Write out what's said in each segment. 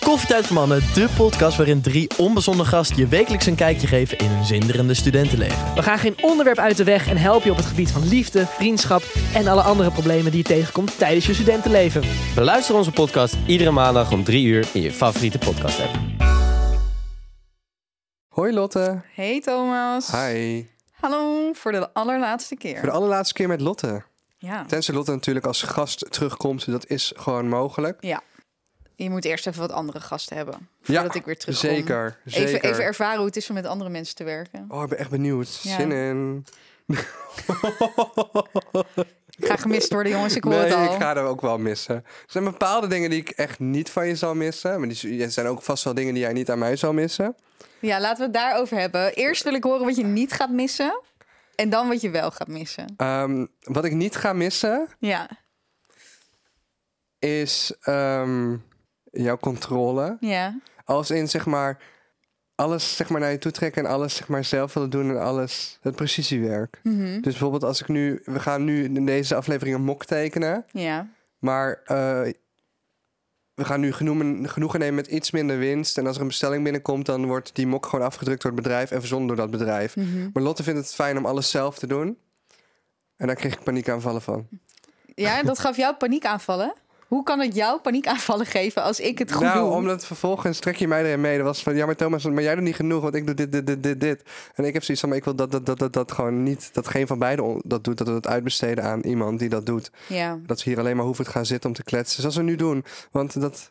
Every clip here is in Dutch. Koffietijd voor Mannen, de podcast waarin drie onbezonnen gasten je wekelijks een kijkje geven in hun zinderende studentenleven. We gaan geen onderwerp uit de weg en helpen je op het gebied van liefde, vriendschap en alle andere problemen die je tegenkomt tijdens je studentenleven. Beluister onze podcast iedere maandag om 3 uur in je favoriete podcast app. Hoi Lotte. Hey Thomas. Hi. Hallo, voor de allerlaatste keer. Voor de allerlaatste keer met Lotte. Ja. Tenzij Lotte natuurlijk als gast terugkomt, dat is gewoon mogelijk. ja. Je moet eerst even wat andere gasten hebben. Ja, Voordat ik weer terugkom. Zeker, zeker. Even, even ervaren hoe het is om met andere mensen te werken. Oh, ik ben echt benieuwd. Ja. Zin in. Ik ga gemist worden, jongens. Ik hoor nee, het al. ik ga er ook wel missen. Er zijn bepaalde dingen die ik echt niet van je zal missen. Maar die, er zijn ook vast wel dingen die jij niet aan mij zal missen. Ja, laten we het daarover hebben. Eerst wil ik horen wat je niet gaat missen. En dan wat je wel gaat missen. Ehm, wat ik niet ga missen Ja, is ehm, jouw controle. ja. Als in zeg maar alles zeg maar, naar je toe trekken en alles zeg maar, zelf willen doen en alles. Het precisiewerk. Mhm. Dus bijvoorbeeld als ik nu, we gaan nu in deze aflevering een mok tekenen, Ja, maar eh, we gaan nu genoemen, genoegen nemen met iets minder winst. En als er een bestelling binnenkomt, dan wordt die mok gewoon afgedrukt door het bedrijf en verzonden door dat bedrijf. Mhm. Maar Lotte vindt het fijn om alles zelf te doen. En daar kreeg ik paniekaanvallen van. ja dat gaf jou paniekaanvallen. Hoe kan het jou paniekaanvallen geven als ik het goed nou, doe? omdat vervolgens trek je mij erin mee. Dat was van, ja maar Thomas, maar jij doet niet genoeg, want ik doe dit, dit, dit, dit, dit. En ik heb zoiets van, maar ik wil dat, dat, dat, dat, dat gewoon niet, dat geen van beiden on- dat doet. Dat we dat uitbesteden aan iemand die dat doet. Ja. dat we hier alleen maar hoeven te gaan zitten om te kletsen. Zoals we nu doen. Want dat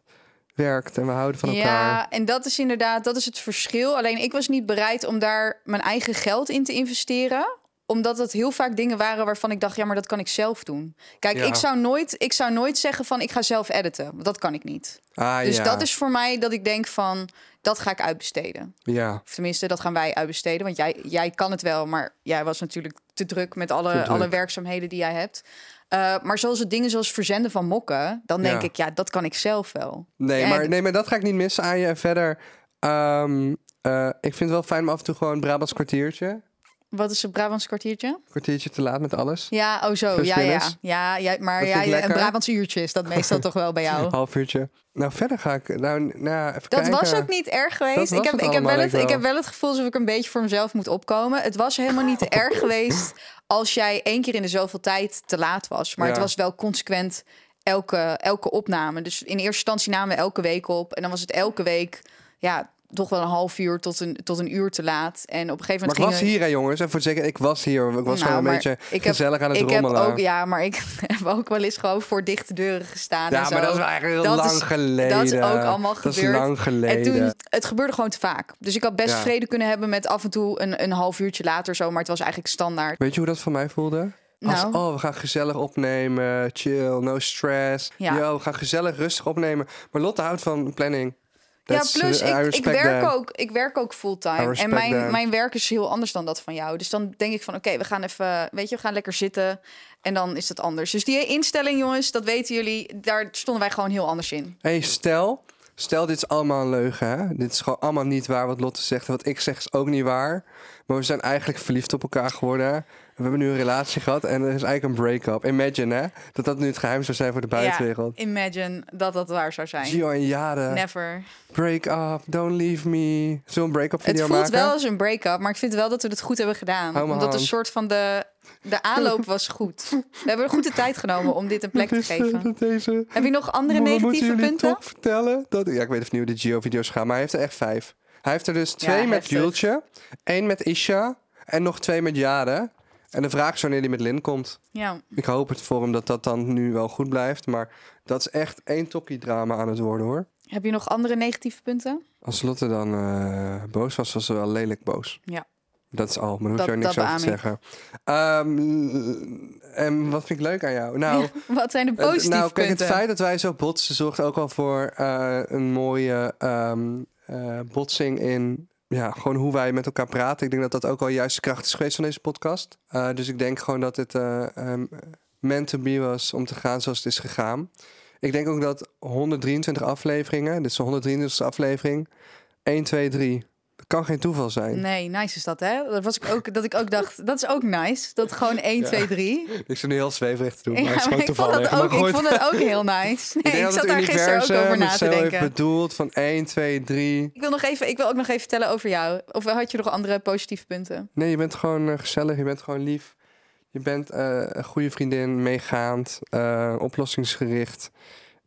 werkt en we houden van elkaar. Ja, en dat is inderdaad, dat is het verschil. Alleen ik was niet bereid om daar mijn eigen geld in te investeren omdat dat heel vaak dingen waren waarvan ik dacht, ja, maar dat kan ik zelf doen. Kijk, Ja. ik, zou nooit, ik zou nooit zeggen van ik ga zelf editen. Want dat kan ik niet. Ah, dus ja. dat is voor mij dat ik denk van dat ga ik uitbesteden. Ja, Of tenminste, dat gaan wij uitbesteden. Want jij, jij kan het wel, maar jij was natuurlijk te druk met alle, druk. alle werkzaamheden die jij hebt. Eh, maar zoals het dingen zoals verzenden van mokken, dan denk Ja. ik, ja, dat kan ik zelf wel. nee, Ja, maar, d- nee, maar dat ga ik niet missen aan je. En verder, ehm, eh, ik vind het wel fijn om af en toe gewoon een Brabants kwartiertje. Wat is het Brabants kwartiertje? Kwartiertje te laat met alles. Ja, oh zo, Plus ja, ja, minus. ja, ja. Maar Dat vind ja, ik ja, een lekker. Brabants uurtje is dat meestal toch wel bij jou. Half uurtje. Nou, verder ga ik, nou, nou ja, even Dat kijken. was ook niet Dat erg geweest. was Ik het heb, ik, heb allemaal, wel denk het, ik ik wel. heb wel het gevoel alsof ik een beetje voor mezelf moet opkomen. Het was helemaal niet erg geweest als jij één keer in de zoveel tijd te laat was. Maar het Ja. was wel consequent elke, elke opname. Dus in eerste instantie namen we elke week op. En dan was het elke week, ja, toch wel een half uur tot een, tot een uur te laat. En op een gegeven Maar ik moment was gingen- hier, hè, jongens. En voor zeker, ik was hier. Ik was Nou, gewoon een maar beetje ik heb- gezellig aan het ik heb rommelen. ook, ja, maar ik heb ook wel eens gewoon voor dichte deuren gestaan. Ja, en zo. maar dat is wel eigenlijk heel Dat lang is- geleden. Dat is ook allemaal Dat is gebeurd. lang En toen, geleden. het gebeurde gewoon te vaak. Dus ik had best Ja. vrede kunnen hebben met af en toe een, een half uurtje later zo. Maar het was eigenlijk standaard. Weet je hoe dat voor mij voelde? Als, Nou. oh, we gaan gezellig opnemen, chill, no stress. Ja. Yo, we gaan gezellig rustig opnemen. Maar Lotte houdt van planning. That's- uh, ja, plus I ik, ik, respect werk that. ook, ik werk ook I fulltime. En respect mijn, that. mijn werk is heel anders dan dat van jou. Dus dan denk ik van oké, we gaan even, weet je, we gaan lekker zitten. En dan is dat anders. Dus die instelling, jongens, dat weten jullie. Daar stonden wij gewoon heel anders in. Hey, stel, stel dit is allemaal een leugen, hè? Dit is gewoon allemaal niet waar wat Lotte zegt. En wat ik zeg is ook niet waar. Maar we zijn eigenlijk verliefd op elkaar geworden. We hebben nu een relatie gehad en er is eigenlijk een break-up. Imagine, hè? Dat dat nu het geheim zou zijn voor de buitenwereld. Ja, imagine dat dat waar zou zijn. Gio en Jade, Never. break-up, don't leave me. Zullen we een break-up Het video voelt maken? wel als een break-up, maar ik vind wel dat we het goed hebben Hou gedaan. mijn omdat een hand. soort van de, de aanloop was goed. We hebben een goede tijd genomen om dit een plek te Dus, eh, geven. dat deze Heb je nog andere Maar we negatieve moeten jullie punten? toch vertellen dat... Ja, ik weet even niet hoe de Geo-video's gaan, maar hij heeft er echt vijf. Hij heeft er dus twee met heftig. Jultje, één met Isha en nog twee met Jade. En de vraag is wanneer die met Lin komt. Ja. Ik hoop het voor hem dat dat dan nu wel goed blijft. Maar dat is echt één tokkie-drama aan het worden, hoor. Heb je nog andere negatieve punten? Als Lotte dan eh, boos was, was ze wel lelijk boos. Ja. Dat is al, maar daar hoef Dat- je ook niks dat over te beaam ik. zeggen. Ehm, en wat vind ik leuk aan jou? Nou, Wat zijn de eh, positieve nou, kijk, punten? het feit dat wij zo botsen zorgt ook al voor eh, een mooie ehm, eh, botsing in ja, gewoon hoe wij met elkaar praten. Ik denk dat dat ook wel juist de kracht is geweest van deze podcast. Eh, dus ik denk gewoon dat het eh, ehm, meant to be was om te gaan zoals het is gegaan. Ik denk ook dat 123 afleveringen, dit is de 123e aflevering, 1, 2, 3. Dat kan geen toeval zijn. Nee, nice is dat, hè? Dat, was ik ook, dat ik ook dacht, dat is ook nice. Dat gewoon 1, 2, 3. Ik zit nu heel zweverig te doen, Ja, maar het is maar gewoon ik vond toevallig. dat Maar ook, goed. ik vond dat ook heel nice. Ik Nee, denk ik dat zat het daar gisteren ook over universum na het te zo heeft denken. bedoeld van 1, 2, 3. Ik wil, nog even, ik wil ook nog even vertellen over jou. Of had je nog andere positieve punten? Nee, je bent gewoon eh, gezellig, je bent gewoon lief. Je bent eh, een goede vriendin, meegaand, eh, oplossingsgericht.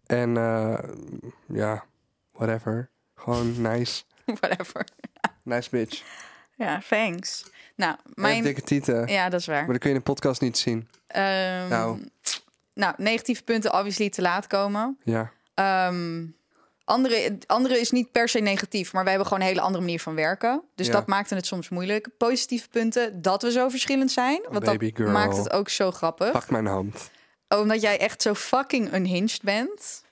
En eh, ja, whatever. Gewoon nice. Whatever. Nice bitch. Ja, thanks. Nou, Mijn... mijn... dikke tieten. Ja, dat is waar. Maar dat kun je in de podcast niet zien. Ehm, Nou. nou, negatieve punten obviously te laat komen. Ja. Ehm, andere, andere is niet per se negatief, maar wij hebben gewoon een hele andere manier van werken. Dus Ja. dat maakte het soms moeilijk. Positieve punten, dat we zo verschillend zijn. Want dat baby girl. maakt het ook zo grappig. Pak mijn hand. Omdat jij echt zo fucking unhinged bent.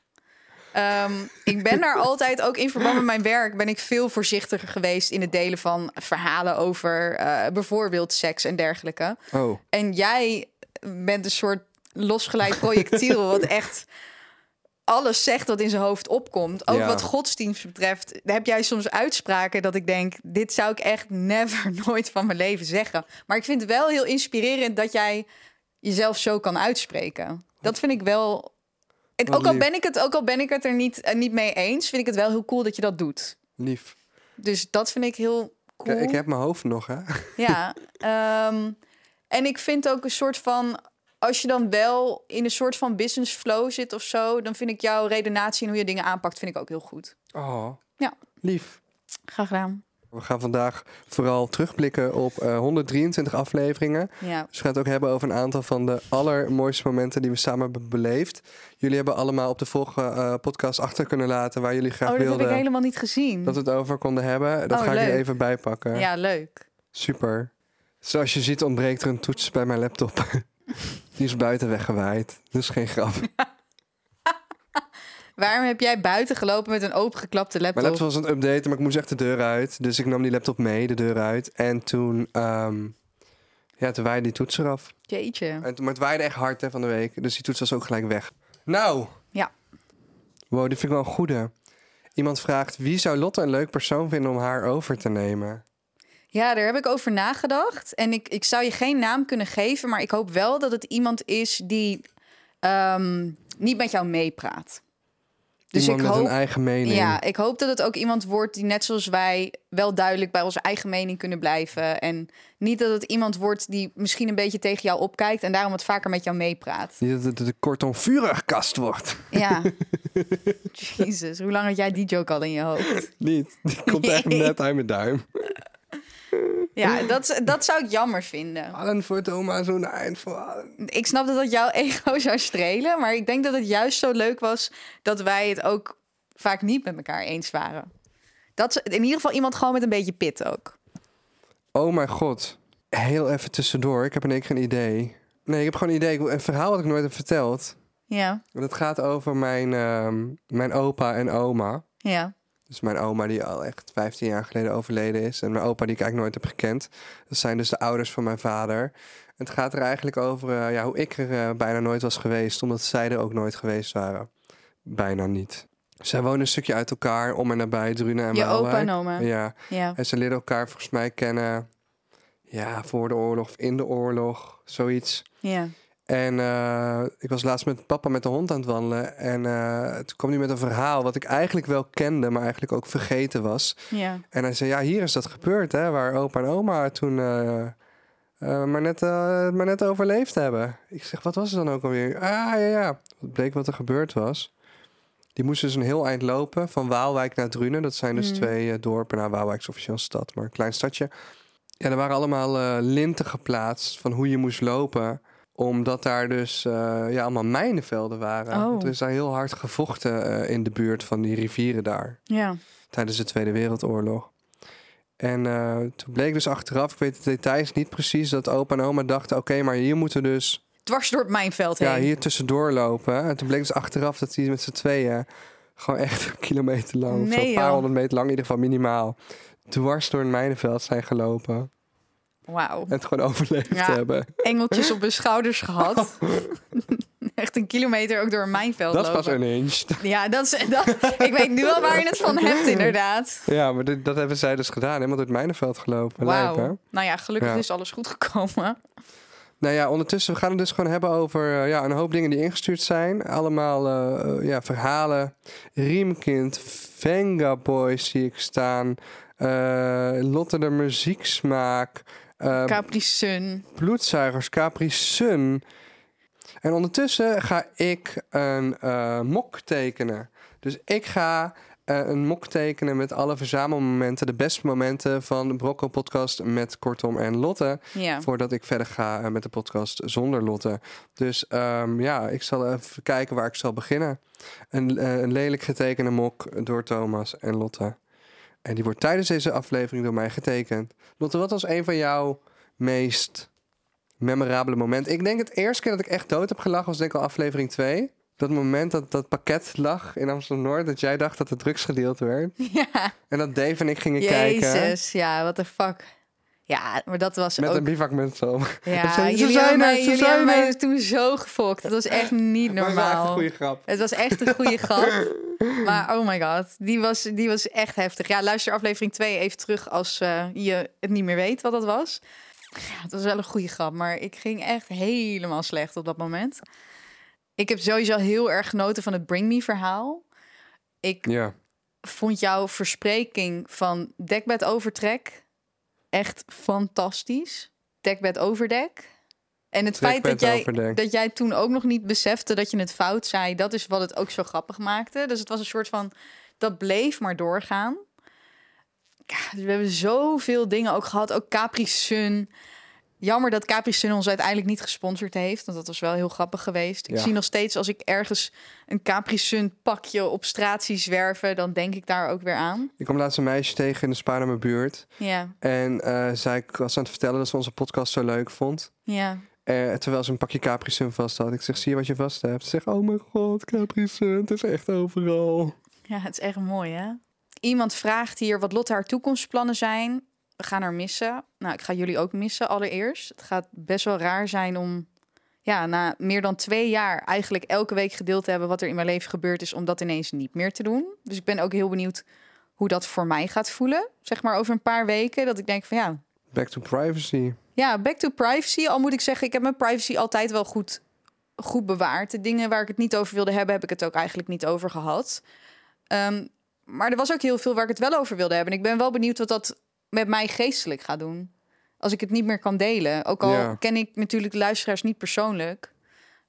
Ehm, ik ben daar altijd, ook in verband met mijn werk, ben ik veel voorzichtiger geweest in het delen van verhalen over eh, bijvoorbeeld seks en dergelijke. Oh, En jij bent een soort losgeleid projectiel, wat echt alles zegt wat in zijn hoofd opkomt. Ook Ja. wat godsdienst betreft, heb jij soms uitspraken dat ik denk: dit zou ik echt never, nooit van mijn leven zeggen. Maar ik vind het wel heel inspirerend dat jij jezelf zo kan uitspreken. Dat vind ik wel. En Wat ook, al lief. ben ik het, ook al ben ik het er niet, eh, niet mee eens, vind ik het wel heel cool dat je dat doet. lief. Dus dat vind ik heel cool. Ik, ik heb mijn hoofd nog, hè? Ja, ehm, en ik vind ook een soort van. Als je dan wel in een soort van business flow zit of zo, dan vind ik jouw redenatie en hoe je dingen aanpakt, vind ik ook heel goed. Oh. Ja. Lief. Graag gedaan. We gaan vandaag vooral terugblikken op eh, 123 afleveringen. Ja, Dus we gaan het ook hebben over een aantal van de allermooiste momenten die we samen hebben beleefd. Jullie hebben allemaal op de vorige eh, podcast achter kunnen laten waar jullie graag oh, dat heb wilden ik helemaal niet gezien. eh, dat we het over konden hebben. Dat Oh, ga ik er leuk. even bijpakken. Ja, leuk. Super. Zoals je ziet ontbreekt er een toets bij mijn laptop. die is buiten weggewaaid. Dus geen grap. Waarom heb jij buiten gelopen met een opengeklapte laptop? Mijn laptop was aan het updaten, maar ik moest echt de deur uit. Dus ik nam die laptop mee, de deur uit. En toen, ehm ja, toen waaide die toets eraf. Jeetje. En toen, maar het waaide echt hard hè, van de week. Dus die toets was ook gelijk weg. Nou. Ja. Wow, dit vind ik wel een goede. Iemand vraagt, wie zou Lotte een leuk persoon vinden om haar over te nemen? Ja, daar heb ik over nagedacht. En ik, ik zou je geen naam kunnen geven, maar ik hoop wel dat het iemand is die ehm, niet met jou meepraat. Dus Iemand ik met hoop. een eigen mening. Ja, ik hoop dat het ook iemand wordt die net zoals wij wel duidelijk bij onze eigen mening kunnen blijven. En niet dat het iemand wordt die misschien een beetje tegen jou opkijkt en daarom wat vaker met jou meepraat. Niet dat het een kortom vurig kast wordt. Ja. Jezus, hoe lang had jij die joke al in je hoofd? Niet. Die komt echt net uit mijn duim. Ja, dat, is- dat zou ik jammer vinden. Allen voor Thomas, zo'n eind voor allen. Ik snap dat dat jouw ego zou strelen, maar ik denk dat het juist zo leuk was dat wij het ook vaak niet met elkaar eens waren. Dat is in ieder geval iemand gewoon met een beetje pit ook. Oh mijn god. Heel even tussendoor. Ik heb in één keer een idee. Nee, ik heb gewoon een idee. Ik wil- Een verhaal dat ik nooit heb verteld. Ja, En Dat gaat over mijn, ehm, mijn opa en oma. ja, Dus mijn oma die al echt 15 jaar geleden overleden is. En mijn opa die ik eigenlijk nooit heb gekend. Dat zijn dus de ouders van mijn vader. En het gaat er eigenlijk over eh, ja, hoe ik er eh, bijna nooit was geweest. Omdat zij er ook nooit geweest waren. Bijna niet. Zij wonen een stukje uit elkaar, om en nabij Drunen en je opa Waalwijk. en oma. Ja, Ja. en ze leren elkaar volgens mij kennen. Ja, voor de oorlog of in de oorlog, zoiets. ja. En eh, ik was laatst met papa met de hond aan het wandelen. En eh, toen kwam hij met een verhaal wat ik eigenlijk wel kende, maar eigenlijk ook vergeten was. Ja, En hij zei, ja, hier is dat gebeurd, hè, waar opa en oma toen eh, eh, maar, net, eh, maar net overleefd hebben. Ik zeg, wat was het dan ook alweer? Ah, ja, ja. Het bleek wat er gebeurd was. Die moesten dus een heel eind lopen, van Waalwijk naar Drunen. Dat zijn dus Mm. twee eh, dorpen, nou, Waalwijk is officieel een stad, maar een klein stadje. Ja, er waren allemaal eh, linten geplaatst van hoe je moest lopen omdat daar dus eh, ja, allemaal mijnenvelden waren. Oh. Want er is daar heel hard gevochten eh, in de buurt van die rivieren daar ja. tijdens de Tweede Wereldoorlog. En eh, toen bleek dus achteraf, ik weet de details niet precies, dat opa en oma dachten: oké, maar hier moeten we dus Dwars door het mijnveld heen. ja, hier tussendoor lopen. En toen bleek dus achteraf dat die met z'n tweeën gewoon echt een kilometer lang, of zo, Nee, een paar joh. honderd meter lang, in ieder geval minimaal, dwars door een mijnenveld zijn gelopen. Wauw. En het gewoon overleefd Ja. hebben. Engeltjes op hun schouders gehad. echt een kilometer ook door een mijnveld Dat is lopen. pas unhinged. Ja, dat is, dat, ik weet nu wel waar je het van hebt, inderdaad. Ja, maar dit- dat hebben zij dus gedaan. Helemaal door het mijnenveld gelopen. Lijp, hè? Wauw. Nou ja, gelukkig Ja. is alles goed gekomen. Nou ja, ondertussen, we gaan het dus gewoon hebben over eh, ja, een hoop dingen die ingestuurd zijn. Allemaal eh, eh, ja, verhalen. Riemkind, Venga Boys zie ik staan. eh, Lotte de muzieksmaak. eh, Capri Sun. bloedzuigers, Capri Sun. En ondertussen ga ik een eh, mok tekenen. Dus ik ga eh, een mok tekenen met alle verzamelmomenten, de beste momenten van de Brocco Podcast met Kortom en Lotte. Ja. Voordat ik verder ga eh, met de podcast zonder Lotte. Dus ehm, ja, ik zal even kijken waar ik zal beginnen. Een, eh, een lelijk getekende mok door Thomas en Lotte. En die wordt tijdens deze aflevering door mij getekend. Lotte, wat was een van jouw meest memorabele momenten? Ik denk het eerste keer dat ik echt dood heb gelachen was denk ik al aflevering 2. Dat moment dat dat pakket lag in Amsterdam-Noord... dat jij dacht dat de drugs gedeeld werd. ja. En dat Dave en ik gingen kijken... Jezus, ja, what the fuck. Ja, maar dat was met ook... een bivakmutsel. ja, Ze- ze jullie zijn hebben er, mij, ze jullie zijn hebben mij er. toen zo gefokt. Dat was echt niet Maar het was echt een normaal. goede grap. Het was echt een goede grap. Maar oh my god, die was, die was echt heftig. Ja, luister aflevering 2 even terug als eh, je het niet meer weet wat dat was. Ja, het was wel een goede grap, maar ik ging echt helemaal slecht op dat moment. Ik heb sowieso heel erg genoten van het Bring Me verhaal. Ik Ja. vond jouw verspreking van dekbed overtrek echt fantastisch. Dekbed overdek. En het feit dat Dekbed jij, overdek. dat jij toen ook nog niet besefte dat je het fout zei, dat is wat het ook zo grappig maakte. Dus het was een soort van, dat bleef maar doorgaan. Ja, dus we hebben zoveel dingen ook gehad, ook Capri Sun. Jammer dat Capri Sun ons uiteindelijk niet gesponsord heeft, want dat was wel heel grappig geweest. Ik Ja. zie nog steeds als ik ergens een Capri Sun pakje op straat zie zwerven, dan denk ik daar ook weer aan. Ik kwam laatst een meisje tegen in de spa naar mijn buurt. Ja, En eh, zij was aan het vertellen dat ze onze podcast zo leuk vond. ja. Eh, terwijl ze een pakje Capri Sun vast had. Ik zeg, zie je wat je vast hebt? Ze zegt, oh mijn god, Capri Sun, het is echt overal. Ja, het is echt mooi, hè? Iemand vraagt hier wat Lotte haar toekomstplannen zijn. We gaan haar missen. Nou, ik ga jullie ook missen allereerst. Het gaat best wel raar zijn om ja, na meer dan twee jaar eigenlijk elke week gedeeld te hebben wat er in mijn leven gebeurd is, om dat ineens niet meer te doen. Dus ik ben ook heel benieuwd hoe dat voor mij gaat voelen. Zeg maar over een paar weken. Dat ik denk van ja, Back to privacy. ja, back to privacy. Al moet ik zeggen, ik heb mijn privacy altijd wel goed, goed bewaard. De dingen waar ik het niet over wilde hebben, heb ik het ook eigenlijk niet over gehad. Ehm, maar er was ook heel veel waar ik het wel over wilde hebben. En ik ben wel benieuwd wat dat met mij geestelijk gaat doen. Als ik het niet meer kan delen. Ook al Ja. ken ik natuurlijk de luisteraars niet persoonlijk.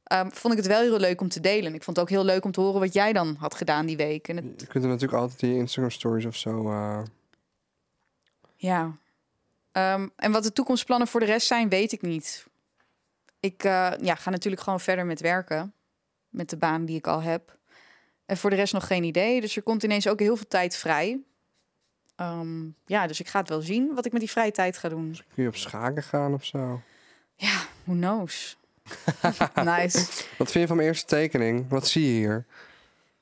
ehm, vond ik het wel heel leuk om te delen. En Ik vond het ook heel leuk om te horen wat jij dan had gedaan die week. En het, Je kunt er natuurlijk altijd in je Instagram stories of zo... eh, Ja. Ehm, en wat de toekomstplannen voor de rest zijn, weet ik niet. Ik eh, ja, ga natuurlijk gewoon verder met werken. Met de baan die ik al heb. En voor de rest nog geen idee. Dus er komt ineens ook heel veel tijd vrij. Ehm, ja, dus ik ga het wel zien wat ik met die vrije tijd ga doen. kun je op schaken gaan of zo. Who knows? nice. Wat vind je van mijn eerste tekening? Wat zie je hier?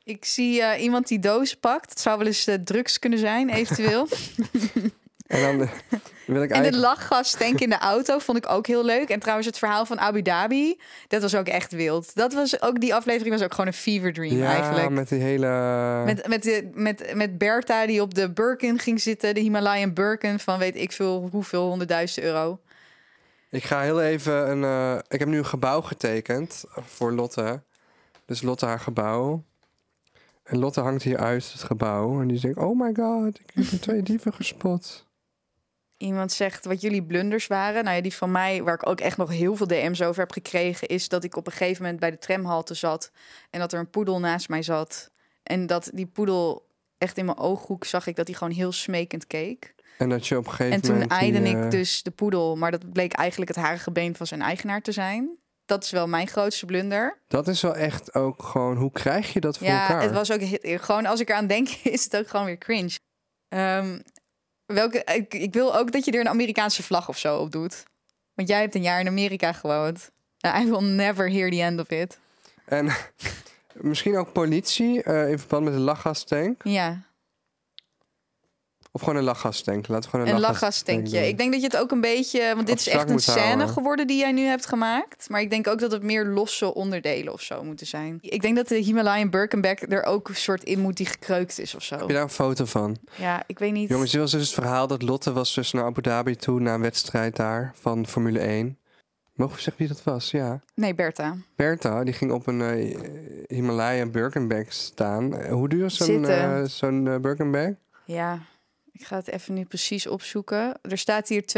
Ik zie eh, iemand die dozen pakt. Het zou wel eens eh, drugs kunnen zijn, eventueel. En dan eh, wil ik En de eigenlijk... lachgas tank in de auto vond ik ook heel leuk. En trouwens, het verhaal van Abu Dhabi, dat was ook echt wild. Dat was ook, die aflevering was ook gewoon een fever dream ja, eigenlijk. met die hele... Met, met, de, met, met Bertha die op de Birkin ging zitten, de Himalayan Birkin van weet ik veel hoeveel, honderdduizend euro. Ik ga heel even een. eh, ik heb nu een gebouw getekend voor Lotte. Dus Lotte haar gebouw. En Lotte hangt hier uit het gebouw. En die denkt: Oh my god, ik heb er twee dieven gespot. Iemand zegt wat jullie blunders waren. Nou ja, die van mij, waar ik ook echt nog heel veel DM's over heb gekregen, is dat ik op een gegeven moment bij de tramhalte zat en dat er een poedel naast mij zat. En dat die poedel echt in mijn ooghoek zag ik dat hij gewoon heel smekend keek. En dat je op een En gegeven toen moment. die, eide eh, ik dus de poedel, maar dat bleek eigenlijk het harige been van zijn eigenaar te zijn. Dat is wel mijn grootste blunder. Dat is wel echt ook gewoon. Hoe krijg je dat voor ja, elkaar? het was ook he- gewoon als ik eraan denk, is het ook gewoon weer cringe. Ehm, welke, ik, ik wil ook dat je er een Amerikaanse vlag of zo op doet. Want jij hebt een jaar in Amerika gewoond. Nou, I will never hear the end of it. En misschien ook politie eh, in verband met de lachgastank. Ja. Of gewoon een lachgasstank. Laten we gewoon een, Een lachgasstank lachgastankje. doen. Ik denk dat je het ook een beetje... Want dit is Abstract echt een moet scène houden. geworden die jij nu hebt gemaakt. Maar ik denk ook dat het meer losse onderdelen of zo moeten zijn. Ik denk dat de Himalayan Birkenback er ook een soort in moet die gekreukt is of zo. Heb je daar een foto van? Ja, ik weet niet. Jongens, dit was dus het verhaal dat Lotte was dus naar Abu Dhabi toe... na een wedstrijd daar van Formule 1. Mogen we zeggen wie dat was? Ja. Nee, Bertha. Bertha, die ging op een eh, Himalaya Birkenbag staan. Eh, Hoe duur is zo'n Zitten. eh zo'n eh, Birkenbag? Ja, ik ga het even nu precies opzoeken. Er staat hier 200.000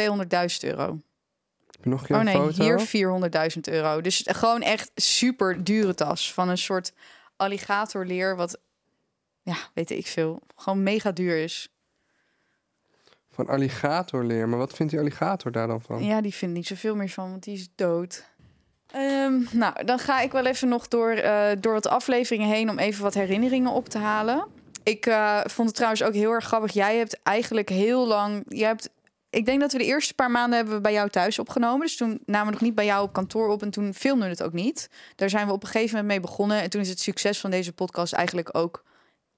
euro. Heb je nog een keer oh nee, een foto? hier 400.000 euro. Dus gewoon echt super dure tas van een soort alligatorleer wat ja, weet ik veel, gewoon mega duur is. Van alligatorleer. Maar wat vindt die alligator daar dan van? Ja, die vindt niet zoveel meer van, want die is dood. Ehm, nou, dan ga ik wel even nog door, eh, door wat afleveringen heen om even wat herinneringen op te halen. Ik eh, vond het trouwens ook heel erg grappig. Jij hebt eigenlijk heel lang. Jij hebt, ik denk dat we de eerste paar maanden hebben we bij jou thuis opgenomen. Dus toen namen we nog niet bij jou op kantoor op en toen filmden we het ook niet. Daar zijn we op een gegeven moment mee begonnen. En toen is het succes van deze podcast eigenlijk ook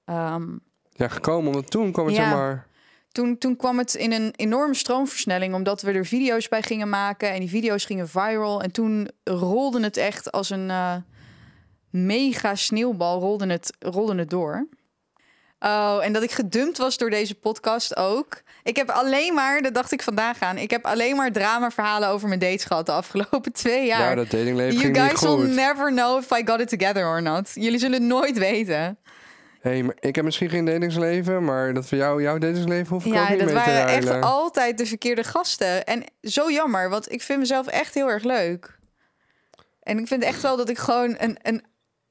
ehm, Ja, gekomen omdat toen kwam het Ja. zomaar... toen, toen kwam het in een enorme stroomversnelling, omdat we er video's bij gingen maken en die video's gingen viral. En toen rolde het echt als een eh, mega sneeuwbal, rolde het, rolde het door. Oh, en dat ik gedumpt was door deze podcast ook. Ik heb alleen maar, dat dacht ik vandaag aan, ik heb alleen maar drama-verhalen over mijn dates gehad de afgelopen twee jaar. Ja, dat datingleven you ging niet guys will goed. never know if I got it together or not. Jullie zullen het nooit weten. Hey, maar ik heb misschien geen datingsleven, maar dat voor jou, jouw datingsleven hoef ik ook Ja, niet dat mee te waren ruilen. echt altijd de verkeerde gasten. En zo jammer, want ik vind mezelf echt heel erg leuk. En ik vind echt wel dat ik gewoon een, een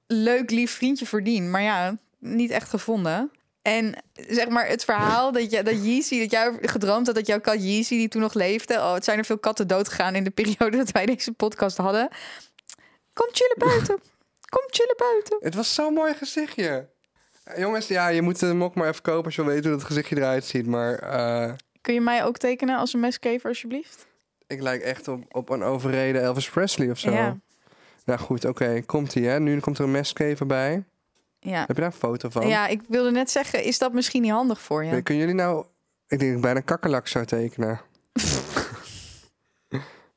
leuk, lief vriendje verdien. Maar ja, niet echt gevonden. En zeg maar het verhaal dat, je, dat Yeezy, dat jij gedroomd had dat jouw kat Yeezy, die toen nog leefde. Oh, het zijn er veel katten doodgegaan in de periode dat wij deze podcast hadden. Kom chillen buiten. Kom chillen buiten. Het was zo'n mooi gezichtje. Eh, Jongens, ja, je moet hem ook maar even kopen als je wil weten hoe dat gezichtje eruit ziet. Maar eh, Kun je mij ook tekenen als een meskever, alsjeblieft? ik lijk echt op, op een overreden Elvis Presley of zo. Ja. Nou goed, oké, komt ie hè. Nu komt er een meskever bij. Ja. Heb je daar een foto van? Ja, ik wilde net zeggen, is dat misschien niet handig voor je? Kunnen jullie nou... Ik denk dat ik bijna kakkerlak zou tekenen.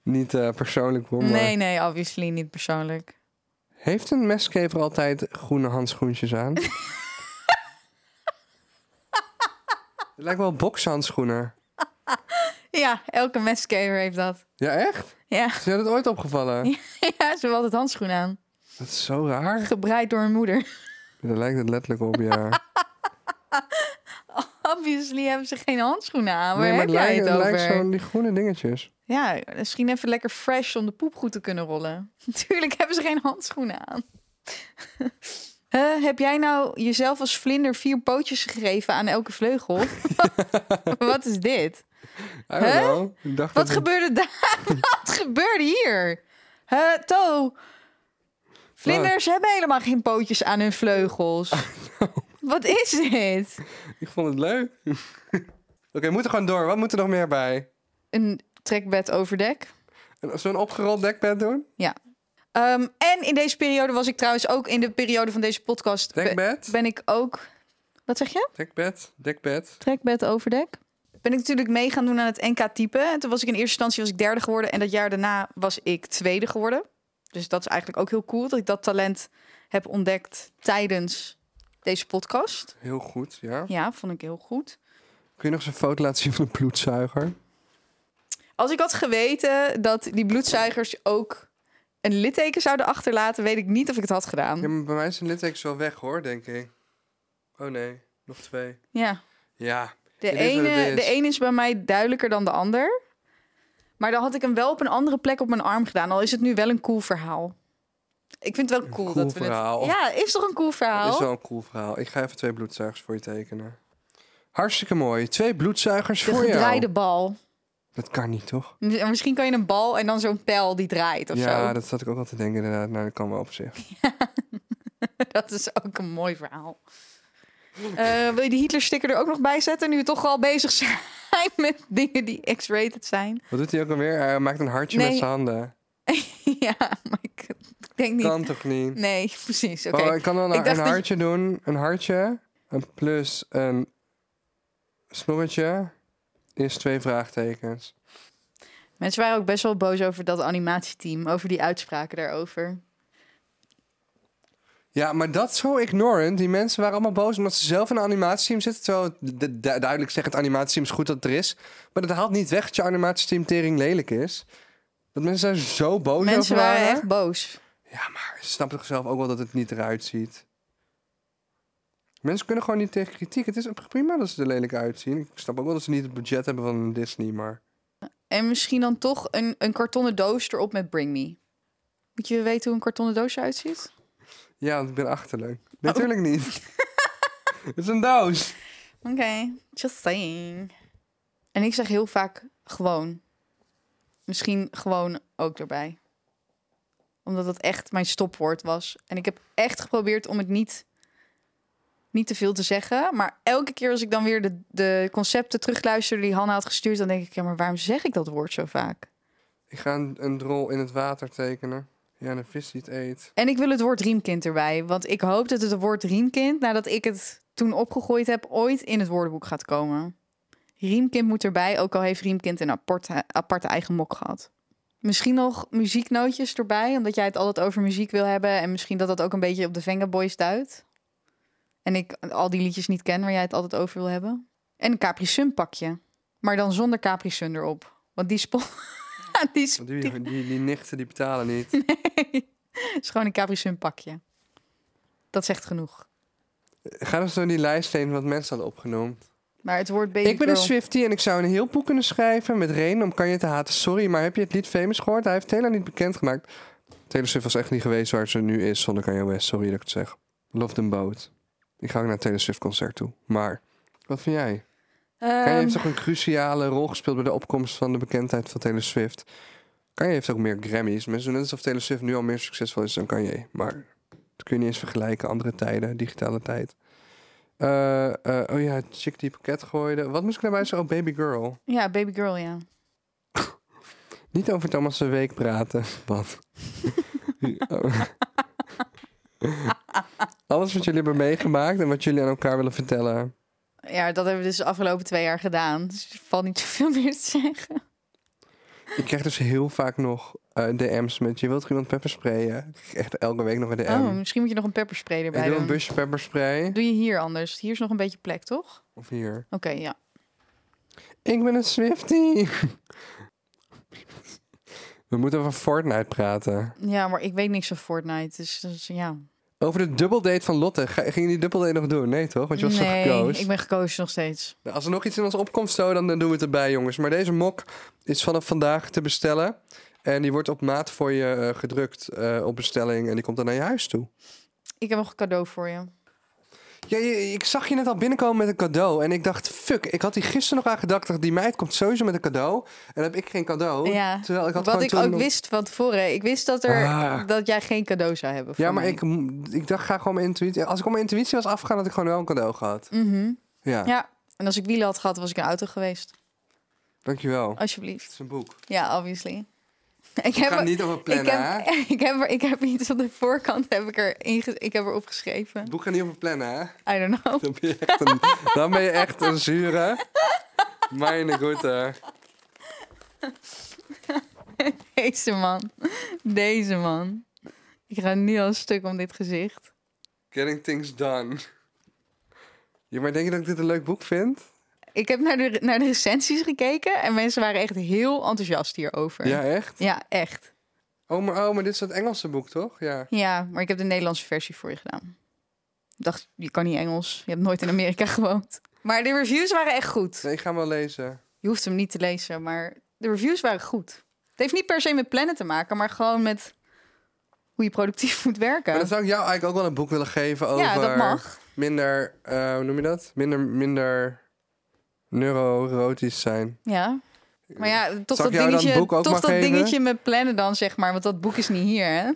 niet eh, persoonlijk, hoor, maar... Nee, nee, obviously niet persoonlijk. Heeft een meskever altijd groene handschoentjes aan? Het lijkt wel bokshandschoenen. Ja, elke mescaver heeft dat. Ja, echt? Ja, Is jou dat ooit opgevallen? ja ze heeft altijd handschoenen aan. Dat is zo raar. Gebreid door hun moeder. Daar lijkt het letterlijk op, ja. Obviously hebben ze geen handschoenen aan. Waar maar heb jij lijkt, het het lijkt over? zo'n die groene dingetjes. Ja, misschien even lekker fresh om de poep goed te kunnen rollen. Natuurlijk hebben ze geen handschoenen aan. Huh, heb jij nou jezelf als vlinder vier pootjes gegeven aan elke vleugel? Wat is dit? I don't Huh? know. Ik dacht Wat dat- gebeurde daar? Wat gebeurde hier? Huh, To? Vlinders hebben helemaal geen pootjes aan hun vleugels. Wat is dit? Ik vond het leuk. Oké, we moeten gewoon door. Wat moet er nog meer bij? Een trekbed overdek. Een- Zullen we een opgerold dekbed doen? Ehm, en in deze periode was ik trouwens ook in de periode van deze podcast. be- Dekbed? Ben ik ook. Wat zeg je? Dekbed? Dekbed? Trekbed overdek. Ben ik natuurlijk mee gaan doen aan het NK type. En toen was ik in eerste instantie was ik derde geworden. En dat jaar daarna was ik tweede geworden. Dus dat is eigenlijk ook heel cool dat ik dat talent heb ontdekt tijdens deze podcast. Heel goed, ja. Ja, vond ik heel goed. Kun je nog eens een foto laten zien van een bloedzuiger? Mm. Als ik had geweten dat die bloedzuigers ook een litteken zouden achterlaten, weet ik niet of ik het had Ja, gedaan. maar bij mij zijn littekens wel weg hoor, denk ik. Oh nee, nog twee. Ja. Ja. De It is what it ene, is. de ene is bij mij duidelijker dan de ander. Maar dan had ik hem wel op een andere plek op mijn arm gedaan. Al is het nu wel een cool verhaal. Ik vind het wel cool, cool dat we verhaal. het... Ja, is toch een cool verhaal? Dat is wel een cool verhaal. Ik ga even twee bloedzuigers voor je tekenen. Hartstikke mooi. Twee bloedzuigers De voor gedraaide jou. bal. Dat kan niet, toch? En Misschien kan je een bal en dan zo'n pijl die draait of ja, zo. Dat... dat zat ik ook al te denken inderdaad. Nou, dat kan wel op zich. is ook een mooi verhaal. Eh, wil je die Hitler-sticker er ook nog bij zetten? Nu we toch al bezig zijn met dingen die X-rated zijn. Wat doet hij ook alweer? Hij maakt een hartje Nee. met zijn handen. ja, maar ik, ik denk niet... Kan toch niet? Nee, precies. Oké. Oh, ik kan wel Ik een, dacht een dat- hartje doen. Een hartje. Een plus een Snorretje is twee vraagtekens. Mensen waren ook best wel boos over dat animatieteam, over die uitspraken daarover. Ja, maar dat is zo ignorant. Die mensen waren allemaal boos omdat ze zelf in een animatieteam zitten. Terwijl het du- du- duidelijk zegt het animatieteam is goed dat het er is. Maar dat haalt niet weg dat je animatieteam tering lelijk is. Dat mensen daar zo boos over Mensen waren. waren echt boos. Ja, maar ze snappen toch zelf ook wel dat het niet eruit ziet. Mensen kunnen gewoon niet tegen kritiek. Het is ook prima dat ze er lelijk uitzien. Ik snap ook wel dat ze niet het budget hebben van Disney, maar... En misschien dan toch een, een kartonnen doos erop met Bring Me. Moet je weten hoe een kartonnen doos eruit ziet? Ja, want ik ben achterlijk. Oh. Natuurlijk niet. het is een doos. Oké, just saying. En ik zeg heel vaak gewoon. Misschien gewoon ook erbij. Omdat dat echt mijn stopwoord was. En ik heb echt geprobeerd om het niet, niet te veel te zeggen. Maar elke keer als ik dan weer de, de concepten terugluister die Hanna had gestuurd... dan denk ik, ja, maar waarom zeg ik dat woord zo vaak? Ik ga een, een drol in het water tekenen. Ja, en een vis die het eet. En ik wil het woord riemkind erbij. Want ik hoop dat het woord riemkind, nadat ik het toen opgegooid heb, ooit in het woordenboek gaat komen. Riemkind moet erbij, ook al heeft riemkind een aparte, aparte eigen mok gehad. Misschien nog muzieknootjes erbij, omdat jij het altijd over muziek wil hebben. En misschien dat dat ook een beetje op de Venga Boys duidt. En ik al die liedjes niet ken waar jij het altijd over wil hebben. En een Capri Sun pakje. Maar dan zonder Capri Sun erop. Want die spot... die sp- Want die, die, die nichten die betalen niet. is gewoon een Capri Sun pakje. Dat zegt genoeg. Ga eens door die lijst heen wat mensen hadden opgenoemd. Maar het woord baby Ik ben een girl- Swifty en ik zou een heel boek kunnen schrijven met Reen. Om kan je te haten. Sorry, maar heb je het lied Famous gehoord? Hij heeft Taylor niet bekendgemaakt. Taylor Swift was echt niet geweest waar ze nu is zonder Kanye West. Sorry dat ik het zeg. Love them both. Ik ga ook naar het Taylor Swift concert toe. Maar, wat vind jij? Kanye Ehm, heeft toch een cruciale rol gespeeld bij de opkomst van de bekendheid van Taylor Swift. Kanye heeft ook meer Grammys. Mensen doen net alsof Taylor Swift nu al meer succesvol is dan Kanye. Maar dat kun je niet eens vergelijken. Andere tijden, digitale tijd. Eh, eh, oh ja, chick die pakket gooide. Wat moest ik daarbij zeggen? Oh, baby girl. Ja, baby girl, ja. Niet over Thomas' week praten. Wat? Oh. Alles wat jullie hebben meegemaakt en wat jullie aan elkaar willen vertellen. Ja, dat hebben we dus de afgelopen twee jaar gedaan. Dus er valt niet zoveel meer te zeggen. Ik krijg dus heel vaak nog eh, DM's met je wilt toch iemand peppersprayen. Ik krijg echt elke week nog een DM. oh, misschien moet je nog een pepperspray ik erbij wil een doen. busje pepperspray. Doe je hier anders. Hier is nog een beetje plek, toch? Of hier. Oké, ja. Ik ben een Swifty. We moeten over Fortnite praten. Ja, maar ik weet niks van Fortnite. Dus, dus ja. Over de dubbeldate van Lotte. Ga, ging je die dubbeldate nog doen? Nee toch? Want je was nee, zo gekozen. ik ben gekozen nog steeds. Nou, Als er nog iets in onze opkomst zo, dan eh, doen we het erbij, jongens. Maar deze mok is vanaf vandaag te bestellen. En die wordt op maat voor je eh, gedrukt eh, op bestelling. En die komt dan naar je huis toe. Ik heb nog een cadeau voor je. Ja, je- ik zag je net al binnenkomen met een cadeau. En ik dacht, fuck, ik had die gisteren nog aan gedacht. dacht, Die meid komt sowieso met een cadeau. En dan heb ik geen cadeau. ja. Terwijl ik had Wat gewoon ik toen ook nog- wist van tevoren. Ik wist dat, er, Ah. dat jij geen cadeau zou hebben. Ja, voor maar mij. ik, m- ik dacht, ga gewoon mijn intuïtie. Als ik op mijn intuïtie was afgegaan, had ik gewoon wel een cadeau gehad. Mhm. Ja, Ja, en als ik wielen had gehad, was ik een auto geweest. dankjewel. Alsjeblieft. Het is een boek. Ja, obviously. Ik Ik heb, ga niet over ik, plannen, hè? heb, ik, heb er, ik heb iets op de voorkant heb ik er inge- ik heb er opgeschreven. Het boek gaat niet over plannen, hè? I don't know. Dan ben je echt een, dan ben je echt een zure. Mijn goede. Deze man. Deze man. Ik ga nu al stuk om dit gezicht. Getting things done. Ja, maar denk je dat ik dit een leuk boek vind? Ik heb naar de, naar de recensies gekeken en mensen waren echt heel enthousiast hierover. Ja, echt? Ja, echt. Oh, maar, oh, maar dit is dat Engelse boek, toch? Ja. Ja, maar ik heb de Nederlandse versie voor je gedaan. Ik dacht, je kan niet Engels. Je hebt nooit in Amerika gewoond. Maar de reviews waren echt goed. Nee, ik ga hem wel lezen. Je hoeft hem niet te lezen, maar de reviews waren goed. Het heeft niet per se met plannen te maken, maar gewoon met hoe je productief moet werken. Maar dan zou ik jou eigenlijk ook wel een boek willen geven over... Ja, dat mag. Minder, eh, hoe noem je dat? Minder, minder neurotisch zijn. Ja. Maar ja, toch Zal ik jou dat dan dingetje, het boek ook toch maar dat geven? dingetje met plannen dan, zeg maar. Want dat boek is niet hier, hè?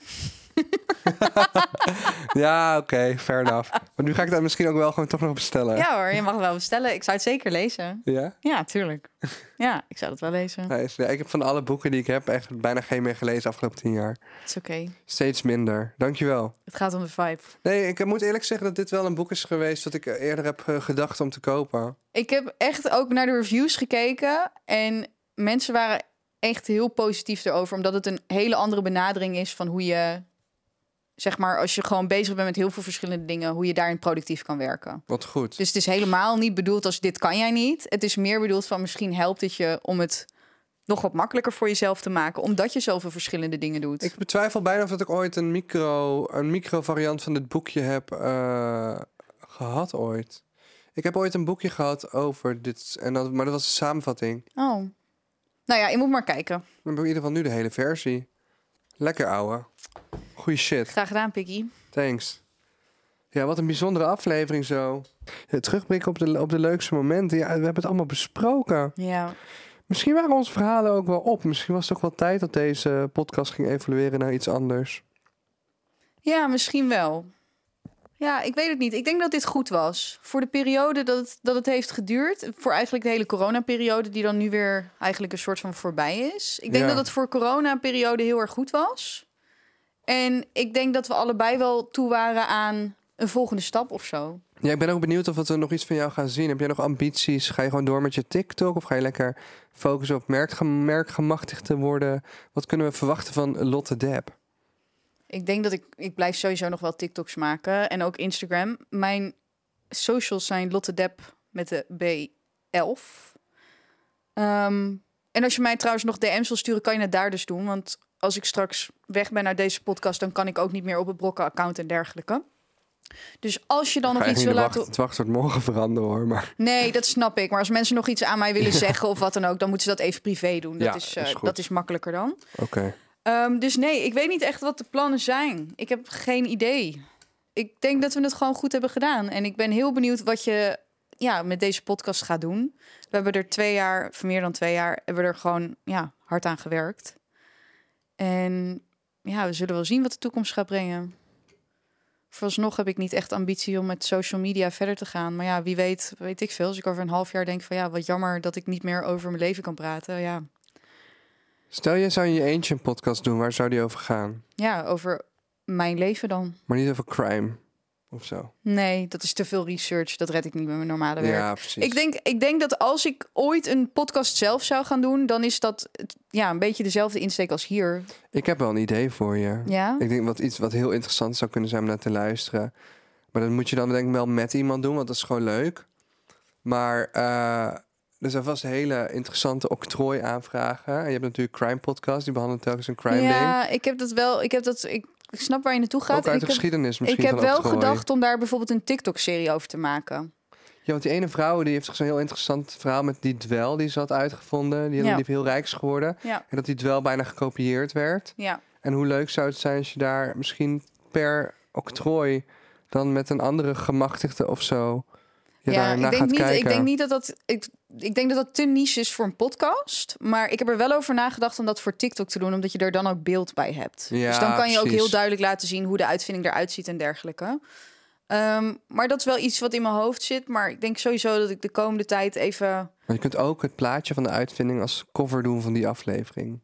Ja, oké, fair enough. Maar nu ga ik dat misschien ook wel gewoon toch nog bestellen. Ja hoor, je mag het wel bestellen. Ik zou het zeker lezen. Ja? Ja, tuurlijk. Ja, ik zou het wel lezen. Nee, is- ja, ik heb van alle boeken die ik heb echt bijna geen meer gelezen de afgelopen tien jaar. Het is oké. Steeds minder. Dankjewel. Het gaat om de vibe. Nee, ik moet eerlijk zeggen dat dit wel een boek is geweest dat ik eerder heb eh, gedacht om te kopen. Ik heb echt ook naar de reviews gekeken. En mensen waren echt heel positief erover. Omdat het een hele andere benadering is van hoe je... Zeg maar, als je gewoon bezig bent met heel veel verschillende dingen... hoe je daarin productief kan werken. Wat goed. Dus het is helemaal niet bedoeld als dit kan jij niet. Het is meer bedoeld van misschien helpt het je om het nog wat makkelijker voor jezelf te maken. Omdat je zoveel verschillende dingen doet. Ik betwijfel bijna of dat ik ooit een micro, een micro variant van dit boekje heb eh, gehad ooit. Ik heb ooit een boekje gehad over dit, en dat, maar dat was een samenvatting. Oh. Nou ja, je moet maar kijken. Dan heb ik in ieder geval nu de hele versie. Lekker ouwe. Goeie shit. Graag gedaan, Piggy. Thanks. Ja, wat een bijzondere aflevering zo. Het terugblikken op de, op de leukste momenten. Ja, we hebben het allemaal besproken. Ja. Misschien waren onze verhalen ook wel op. Misschien was het ook wel tijd dat deze podcast ging evolueren naar iets anders. Ja, misschien wel. Ja, ik weet het niet. Ik denk dat dit goed was. Voor de periode dat het, dat het heeft geduurd. Voor eigenlijk de hele coronaperiode, die dan nu weer eigenlijk een soort van voorbij is. Ik denk Ja. dat het voor coronaperiode heel erg goed was. En ik denk dat we allebei wel toe waren aan een volgende stap of zo. Ja, ik ben ook benieuwd of we er nog iets van jou gaan zien. Heb jij nog ambities? Ga je gewoon door met je TikTok? Of ga je lekker focussen op merk, merkgemachtigd te worden? Wat kunnen we verwachten van Lotte Deb? Ik denk dat ik, ik blijf sowieso nog wel TikToks maken en ook Instagram. Mijn socials zijn Lotte Depp met de B11. Ehm, en als je mij trouwens nog DM's wil sturen, kan je het daar dus doen. Want als ik straks weg ben uit deze podcast, dan kan ik ook niet meer op het Brokken-account en dergelijke. Dus als je dan nog Ga je iets niet de wil laten... wacht, het wachtwoord morgen veranderen hoor. Maar Nee, dat snap ik. Maar als mensen nog iets aan mij willen zeggen of wat dan ook, dan moeten ze dat even privé doen. Dat, Ja, is, eh, is goed. dat is makkelijker dan. oké. Ehm, dus nee, ik weet niet echt wat de plannen zijn. Ik heb geen idee. Ik denk dat we het gewoon goed hebben gedaan. En ik ben heel benieuwd wat je ja, met deze podcast gaat doen. We hebben er twee jaar, of meer dan twee jaar, hebben we er gewoon ja, hard aan gewerkt. En ja, we zullen wel zien wat de toekomst gaat brengen. Vooralsnog heb ik niet echt ambitie om met social media verder te gaan. Maar ja, wie weet, weet ik veel. Als ik over een half jaar denk van ja, wat jammer dat ik niet meer over mijn leven kan praten. Ja, Stel, jij zou in je eentje een podcast doen. Waar zou die over gaan? ja over mijn leven dan. Maar niet over crime of zo. Nee, dat is te veel research. Dat red ik niet met mijn normale werk. Ja, precies. ik, denk, ik denk dat als ik ooit een podcast zelf zou gaan doen, dan is dat eh, ja, een beetje dezelfde insteek als hier. Ik heb wel een idee voor je. Ja? Ik denk wat iets wat heel interessant zou kunnen zijn om naar te luisteren. Maar dat moet je dan denk ik wel met iemand doen, want dat is gewoon leuk. Maar eh, er zijn vast hele interessante octrooi aanvragen. En je hebt natuurlijk crime podcast, die behandelen telkens een crime ding. ja, ik heb dat wel. Ik, heb dat, ik, ik snap waar je naartoe gaat. Ook uit ik de heb, geschiedenis ik misschien heb van wel octrooi. gedacht om daar bijvoorbeeld een TikTok-serie over te maken. Ja, want die ene vrouw die heeft toch zo'n heel interessant verhaal met die dwel die ze had uitgevonden. Die, Ja. die heel rijk is geworden. Ja. En dat die dwel bijna gekopieerd werd. Ja, En hoe leuk zou het zijn als je daar misschien per octrooi dan met een andere gemachtigde of zo je daar ik, naar denk gaat niet, kijken. ik denk niet dat dat. Ik, ik denk dat dat te niche is voor een podcast. Maar ik heb er wel over nagedacht om dat voor TikTok te doen, omdat je er dan ook beeld bij hebt. Ja, dus dan kan je ook precies. heel duidelijk laten zien hoe de uitvinding eruit ziet en dergelijke. Ehm, maar dat is wel iets wat in mijn hoofd zit. Maar ik denk sowieso dat ik de komende tijd even. Maar je kunt ook het plaatje van de uitvinding als cover doen van die aflevering.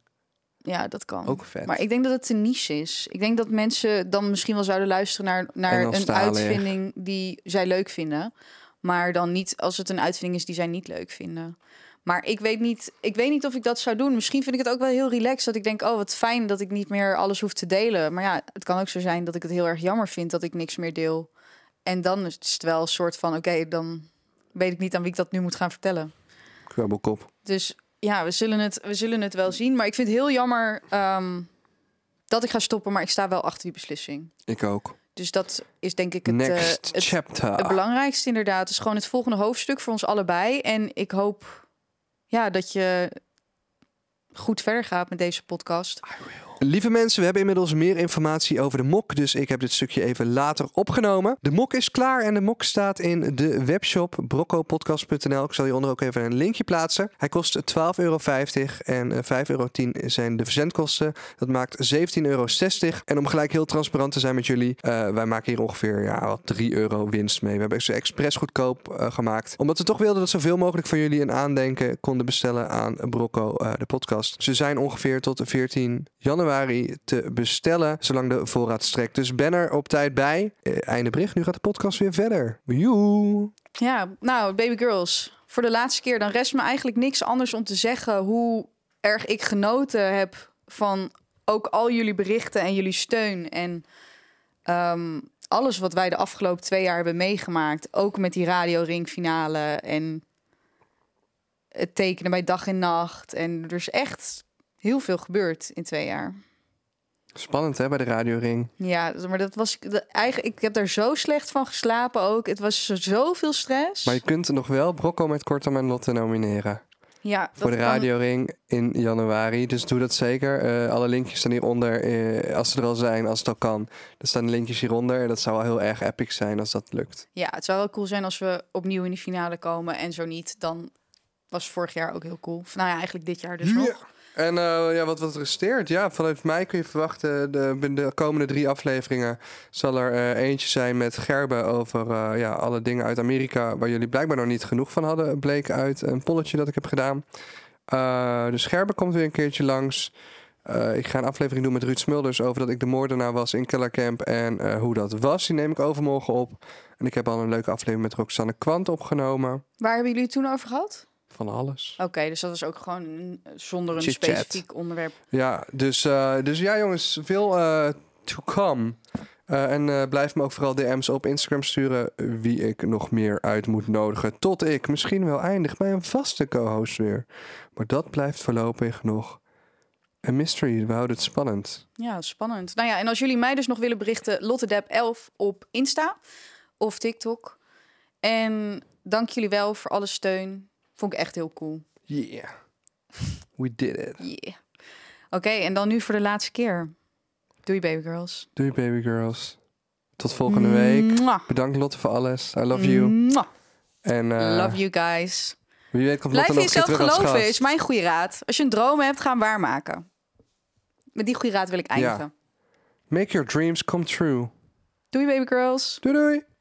Ja, dat kan. Ook vet. Maar ik denk dat het te niche is. Ik denk dat mensen dan misschien wel zouden luisteren naar, naar een Engelstalig. uitvinding die zij leuk vinden. Maar dan niet als het een uitvinding is die zij niet leuk vinden. Maar ik weet niet, ik weet niet of ik dat zou doen. Misschien vind ik het ook wel heel relaxed dat ik denk... oh, wat fijn dat ik niet meer alles hoef te delen. Maar ja, het kan ook zo zijn dat ik het heel erg jammer vind dat ik niks meer deel. En dan is het wel een soort van, oké, dan weet ik niet aan wie ik dat nu moet gaan vertellen. Krabbelkop. Dus ja, we zullen het, we zullen het wel zien. Maar ik vind het heel jammer ehm, dat ik ga stoppen. Maar ik sta wel achter die beslissing. Ik ook. Dus dat is denk ik het, eh, Next het, chapter. het belangrijkste inderdaad. Het is gewoon het volgende hoofdstuk voor ons allebei. En ik hoop ja, dat je goed verder gaat met deze podcast. Lieve mensen, we hebben inmiddels meer informatie over de mok, dus ik heb dit stukje even later opgenomen. De mok is klaar en de mok staat in de webshop broccopodcast.nl. Ik zal hieronder ook even een linkje plaatsen. Hij kost 12,50 euro en eh, 5,10 euro zijn de verzendkosten. Dat maakt 17,60 euro. En om gelijk heel transparant te zijn met jullie, eh, wij maken hier ongeveer ja, wat 3 euro winst mee. We hebben ze expres goedkoop eh, gemaakt. Omdat we toch wilden dat zoveel mogelijk van jullie een aandenken konden bestellen aan Brocco, eh, de podcast. Ze zijn ongeveer tot 14 januari te bestellen, zolang de voorraad strekt. Dus ben er op tijd bij. Eh, einde bericht, nu gaat de podcast weer verder. Joe! Ja, nou, baby girls. Voor de laatste keer, dan rest me eigenlijk niks anders om te zeggen hoe erg ik genoten heb van ook al jullie berichten en jullie steun. En ehm, alles wat wij de afgelopen twee jaar hebben meegemaakt. Ook met die Radio Ring finale en het tekenen bij dag en nacht. En er is echt heel veel gebeurd in twee jaar. Spannend hè, bij de radioring. Ja, maar dat was ik- dat- eigenlijk. Ik heb daar zo slecht van geslapen ook. Het was zoveel stress. Maar je kunt nog wel Brocco met Kortom en Lotte nomineren. ja, Voor de dat kan- radioring in januari. Dus doe dat zeker. Eh, alle linkjes staan hieronder. eh, als ze er al zijn, als het al kan. Er staan linkjes hieronder. En dat zou wel heel erg epic zijn als dat lukt. Ja, het zou wel cool zijn als we opnieuw in de finale komen. En zo niet, dan was vorig jaar ook heel cool. Of Nou ja, eigenlijk dit jaar dus nog. En eh, ja, wat, wat resteert? Ja, vanuit mij kun je verwachten. De, binnen de komende drie afleveringen zal er eh, eentje zijn met Gerben over eh, ja, alle dingen uit Amerika. Waar jullie blijkbaar nog niet genoeg van hadden. Bleek uit een polletje dat ik heb gedaan. Eh, dus Gerben komt weer een keertje langs. Eh, ik ga een aflevering doen met Ruud Smulders over dat ik de moordenaar was in Kellercamp en eh, hoe dat was. Die neem ik overmorgen op. En ik heb al een leuke aflevering met Roxanne Kwant opgenomen. Waar hebben jullie het toen over gehad? Van alles. Oké, dus dat was ook gewoon een- zonder een Chit-chat. specifiek onderwerp. Ja, dus, eh, dus ja, jongens, veel eh, to come. Eh, en eh, blijf me ook vooral DM's op Instagram sturen wie ik nog meer uit moet nodigen. Tot ik misschien wel eindig bij een vaste co-host weer. Maar dat blijft voorlopig nog een mystery. We houden het spannend. Ja, spannend. Nou ja, en als jullie mij dus nog willen berichten, LotteDeb11 op Insta of TikTok. En dank jullie wel voor alle steun. Vond ik echt heel cool. Yeah. We did it. Yeah. Oké, en dan nu voor de laatste keer. Doei, baby girls. Doei baby girls. Tot Mm. volgende week. Mwah. Bedankt Lotte voor alles. I love you. Mwah. En eh, Mm. Love you guys. wie weet komt Lotte Blijf in nog een keer jezelf terug als geloven, gast. is mijn goede raad. Als je een droom hebt, ga hem waarmaken. Met die goede raad wil ik eindigen. Make your dreams come true. Doei, baby girls. Doei doei.